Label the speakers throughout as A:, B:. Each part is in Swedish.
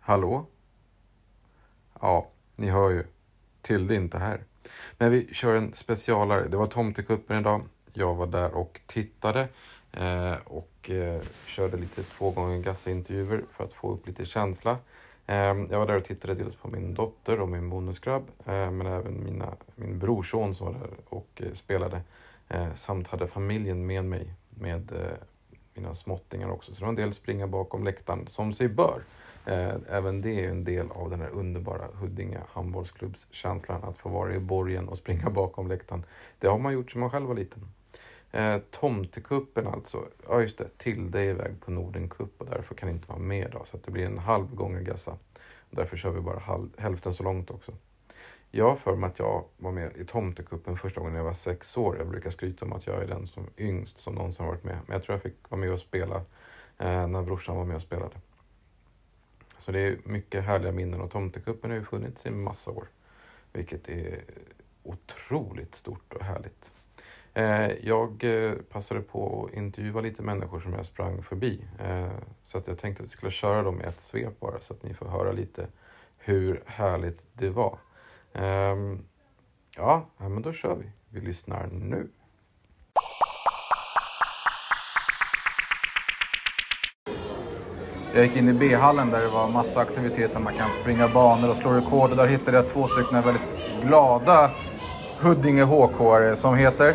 A: Hallå? Ja, ni hör ju. Tilde är inte här. Men vi kör en specialare. Det var tomtekuppen idag. Jag var där och tittade eh, och eh, körde lite två gånger Gasse-intervjuer för att få upp lite känsla. Eh, jag var där och tittade dels på min dotter och min bonusgrabb eh, men även mina, min brorson som var där och eh, spelade eh, samt hade familjen med mig med eh, mina småttingar också. Så det var en del springa bakom läktaren som sig bör. Eh, Även det är ju en del av den här underbara Huddinge handbollsklubbskänslan att få vara i borgen och springa bakom läktaren. Det har man gjort som man själv var liten. Eh, Tomtekuppen alltså, ja just det, Tilde är iväg på Nordencup och därför kan inte vara med idag så att det blir en halv gånger Gassa. Och därför kör vi bara halv, hälften så långt också. Jag har för mig att jag var med i Tomtekuppen första gången när jag var sex år. Jag brukar skryta om att jag är den som yngst som någonsin har varit med. Men jag tror jag fick vara med och spela eh, när brorsan var med och spelade. Så det är mycket härliga minnen och Tomtekuppen har ju funnits i massa år. Vilket är otroligt stort och härligt. Eh, Jag eh, passade på att intervjua lite människor som jag sprang förbi. eh, Så att jag tänkte att vi skulle köra dem i ett svep bara så att ni får höra lite hur härligt det var. Ehm, Ja, ja, men då kör vi. Vi lyssnar nu.
B: Jag gick in i B-hallen där det var massa aktiviteter. Man kan springa banor och slå rekord. Och där hittade jag två stycken väldigt glada Huddinge hk som heter...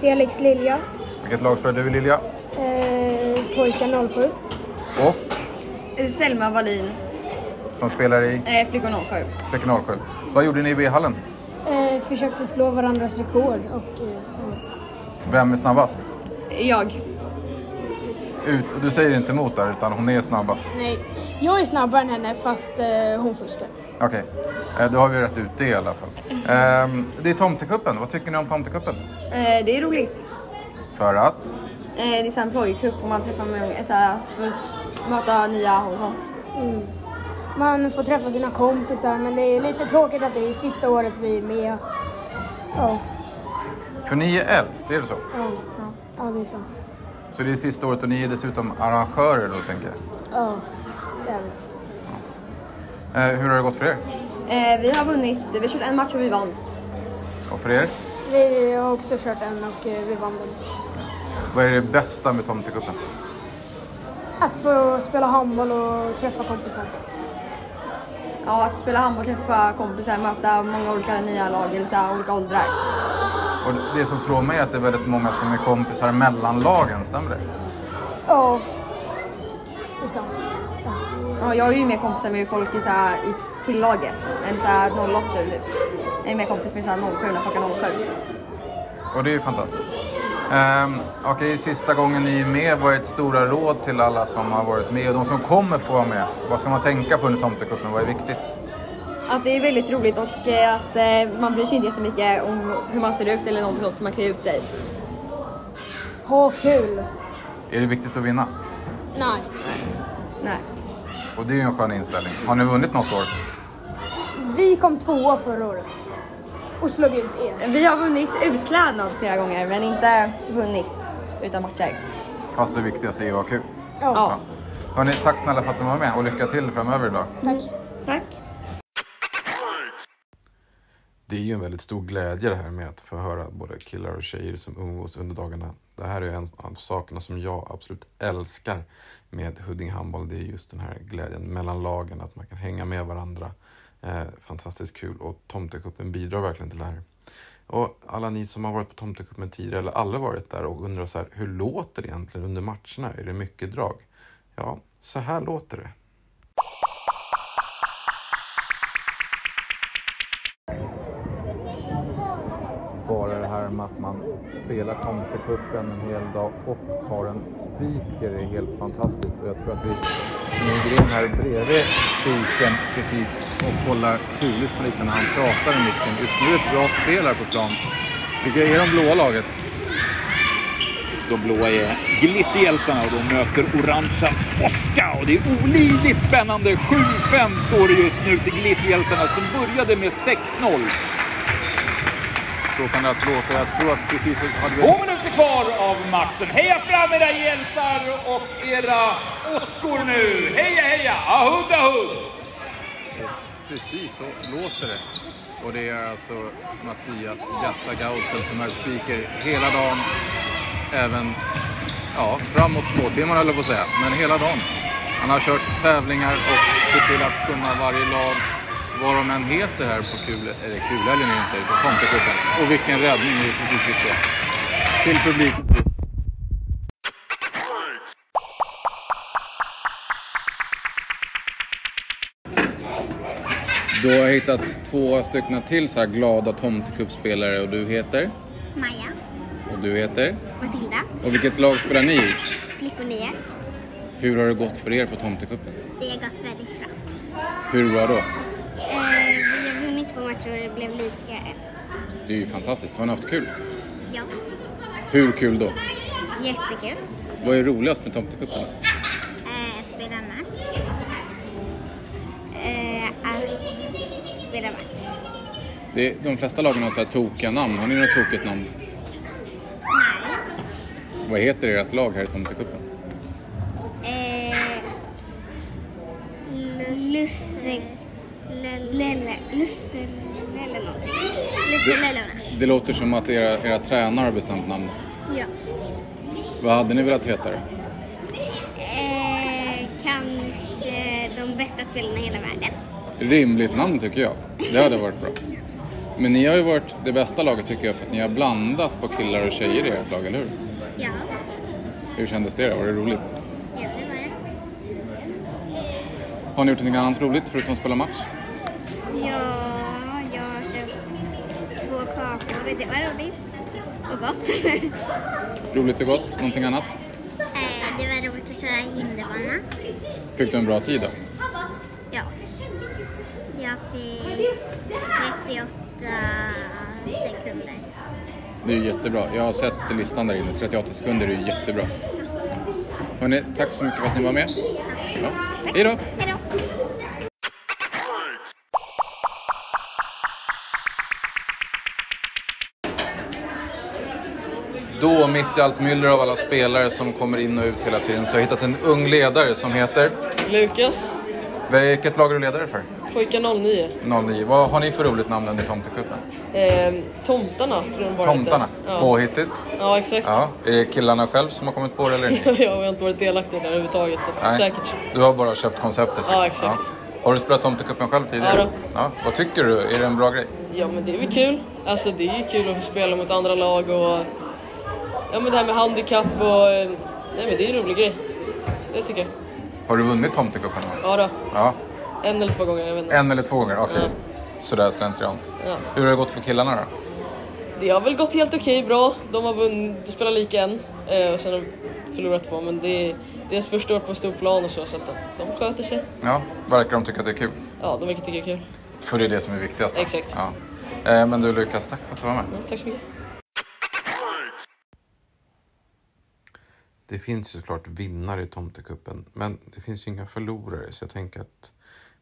C: Felix Lilja,
B: Vilket lag spelar du i Lilja?
C: eh, pojkar 07.
B: Och
D: Selma Wallin,
B: som spelar i
D: eh, flickor 07.
B: Fläcken 07. Vad gjorde ni i B-hallen?
C: Eh, försökte slå varandras rekord och... Eh, ja.
B: Vem är snabbast?
D: Jag.
B: Ut, och du säger inte emot där, utan hon är snabbast.
C: Nej, jag är snabbare än henne fast eh, hon fuskar.
B: Okej, eh, då har vi rätt ut det i alla fall. Ehm, det är Tomtekuppen. Vad tycker ni om Tomtekuppen?
D: Eh, det är roligt.
B: För att?
D: Eh, det är så här en pojkcup och man träffar med unga, så här, för att möta nya och sånt.
C: Mm. Man får träffa sina kompisar men det är lite tråkigt att det är sista året vi är med. Ja,
B: För ni är äldst, är det så?
C: ja, ja, ja det är sant.
B: Så det är sista året och ni är dessutom arrangörer då, tänker jag.
C: Ja, det är vi.
B: Eh, hur har det gått för er?
D: Eh, vi har vunnit, vi körde en match och vi vann.
B: Och för er?
C: Vi har också kört en och eh, vi vann den.
B: Vad är det bästa med Tomtekuppen?
C: Att få spela handboll och träffa kompisar.
D: Ja, att spela handboll, träffa kompisar, möta många olika nya lag eller så här, olika åldrar.
B: Och det som slår mig är att det är väldigt många som är kompisar mellan lagen, stämmer det?
C: Ja, det är sant. Ja.
D: Ja, jag är ju mer kompisar med folk i, så här, i killaget än så här 08 typ. Jag är mer kompis med så här 07 när klockan 07.
B: Och det är ju fantastiskt. Ehm, Okej, sista gången ni är med, vad är ett stora råd till alla som har varit med och de som kommer få vara med? Vad ska man tänka på under Tomtekuppen? Vad är viktigt?
D: Att det är väldigt roligt och eh, att eh, man bryr sig inte jättemycket om hur man ser ut eller något sånt för man klär ut sig.
C: Ha kul!
B: Är det viktigt att vinna?
C: Nej.
D: Nej.
B: Och det är ju en skön inställning. Har ni vunnit något år?
C: Vi kom tvåa förra året och slog ut er.
D: Vi har vunnit utklädnad flera gånger men inte vunnit utan matcher.
B: Fast det viktigaste är ju att ha kul.
D: Ja.
B: Hörni, tack snälla för att ni var med och lycka till framöver idag.
C: Tack.
D: Tack.
A: Det är ju en väldigt stor glädje det här med att få höra både killar och tjejer som umgås under dagarna. Det här är ju en av sakerna som jag absolut älskar med Huddinge handboll. Det är just den här glädjen mellan lagen, att man kan hänga med varandra. Eh, fantastiskt kul och Tomtekuppen bidrar verkligen till det här. Och alla ni som har varit på Tomtekuppen tidigare eller aldrig varit där och undrar så här, hur låter det egentligen under matcherna? Är det mycket drag? Ja, så här låter det.
B: bara det här med att man spelar tomtekuppen en hel dag och har en speaker är helt fantastiskt. Och jag tror att vi smyger in här bredvid spiken precis och kollar tjuvlyssnar lite när han pratar i micken. Just nu är det ett bra spel här på plan. Vilka är de blåa laget?
E: De blåa är Glitterhjältarna och de möter orangea Oskar. Och det är olidligt spännande. 7-5 står det just nu till Glitterhjältarna som började med 6-0.
A: Så kan det alltså låta. Jag tror att precis hade vi...
E: Två minuter kvar av matchen. Heja fram era hjältar och era åskor nu! Heja, heja! Ahud, ahud!
A: Precis så låter det. Och det är alltså Mattias Gassagausen som är speaker hela dagen. Även ja, framåt småtimmarna höll jag på att säga, men hela dagen. Han har kört tävlingar och sett till att kunna varje lag vad de än heter här på kul, eller kulhelgen är det inte, på tomtecupen. Och vilken räddning, det är precis fick se. Till publiken. Du har hittat två stycken till så här glada tomtekuppspelare och du heter?
F: Maja,
A: Och du heter?
F: Matilda,
A: Och vilket lag spelar ni i?
F: flickor 9.
A: Hur har det gått för er på tomtekuppen?
F: Det har gått väldigt bra.
A: Hur bra då?
F: Eh, vi har vunnit två matcher och det blev lika. eh,
A: Det är ju fantastiskt. Har ni haft kul?
F: Ja,
A: Hur kul då?
F: jättekul.
A: Vad är roligast med tomtekuppen?
F: Eh, att spela match. Eh, att spela match.
A: Det är, de flesta lagen har så här tokiga namn. Har ni något tokigt namn? Vad heter ert lag här i tomtekuppen?
F: Eh, Lusse... Lelle... Lusse... Lelle någonting. Lusse Lellorna.
A: Det låter som att era, era tränare har bestämt namn.
F: Ja.
A: Vad hade ni velat heta då?
F: Eh, kanske de bästa spelarna i hela världen.
A: Rimligt namn tycker jag. Det hade varit bra. Men ni har ju varit det bästa laget tycker jag för att ni har blandat på killar och tjejer i ert lag, eller hur?
F: Ja,
A: Hur kändes det då? Var det roligt?
F: ja det var det.
A: Har ni gjort något annat roligt förutom att spela match?
F: Ja, jag har köpt två kakor. Det var roligt. Och gott.
A: Roligt och gott? Någonting annat?
F: det var roligt att köra hinderbana.
A: Fick du en bra tid då?
F: Ja. Jag fick 38 sekunder.
A: Det är ju jättebra. Jag har sett listan där inne. 38 sekunder är ju jättebra. Hörrni, tack så mycket för att ni var med. Ja. Hej då!
F: Hej då!
A: Då, mitt i allt myller av alla spelare som kommer in och ut hela tiden, så har jag hittat en ung ledare som heter...
G: Lukas,
A: Vilket lag är du ledare för?
G: pojkar 09.
A: 09. Vad har ni för roligt namn under tomtekuppen?
G: Eh, tomtarna tror jag de bara
A: Tomtarna?
G: heter. Ja.
A: Påhittigt?
G: ja, exakt.
A: Ja. Är det killarna själv som har kommit på det eller är det ni?
G: jag har inte varit delaktig där överhuvudtaget så säkert.
A: Du har bara köpt konceptet?
G: Ja,
A: liksom.
G: exakt.
A: Har du spelat Tomtekuppen själv tidigare?
G: Ja då.
A: Vad tycker du? Är det en bra grej?
G: Ja men det är väl kul. Alltså det är ju kul att få spela mot andra lag och ja men det här med handikapp och eh, nej men det är en rolig grej. Det tycker jag.
A: Har du vunnit Tomtekuppen? någon gång?
G: Ja då.
A: Ja.
G: En eller två gånger, jag vet inte.
A: En eller två gånger? Okej.
G: Ja.
A: Sådär slentriant.
G: Ja.
A: Hur har det gått för killarna då?
G: Det har väl gått helt okej, bra. De har vunnit, de spelar lika en eh, och sen har de förlorat två men det är deras första år på en stor plan och så så att de, de sköter sig.
A: Ja. Verkar de tycka att det är kul?
G: Ja, de verkar tycka det är kul.
A: För det är det som är viktigast. då.
G: Exakt.
A: Ja. Eh, Men du Lukas, tack för att du var med.
G: Ja, tack så mycket.
H: Det finns ju såklart vinnare i tomtekuppen, men det finns ju inga förlorare så jag tänker att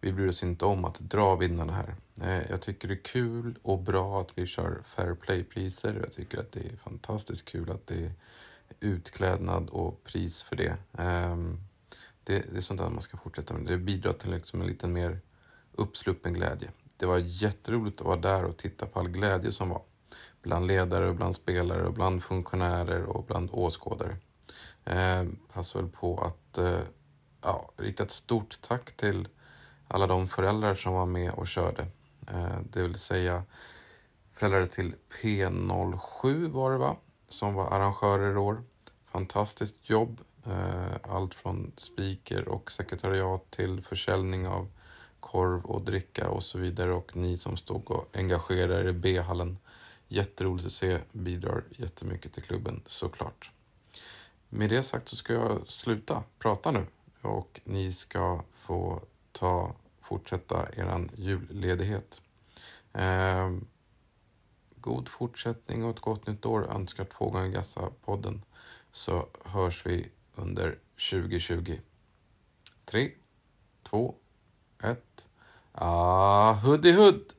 H: vi bryr oss inte om att dra vinnarna här. Eh, Jag tycker det är kul och bra att vi kör fair play-priser och jag tycker att det är fantastiskt kul att det är utklädnad och pris för det. Ehm, Det, det är sånt där man ska fortsätta med. Det bidrar till liksom en lite mer uppsluppen glädje. Det var jätteroligt att vara där och titta på all glädje som var. Bland ledare och bland spelare och bland funktionärer och bland åskådare. Eh, passar väl på att eh, ja, rikta ett stort tack till alla de föräldrar som var med och körde. Eh, det vill säga föräldrar till P07 var det va? Som var arrangörer i år. Fantastiskt jobb. Eh, allt från speaker och sekretariat till försäljning av korv och dricka och så vidare och ni som stod och engagerade er i B-hallen. Jätteroligt att se, bidrar jättemycket till klubben såklart. Med det sagt så ska jag sluta prata nu och ni ska få ta, fortsätta eran julledighet. Ehm, god fortsättning och ett gott nytt år önskar två gånger Gassa-podden så hörs vi under 2020. Tre, två, ett. Ah, hoodie hood!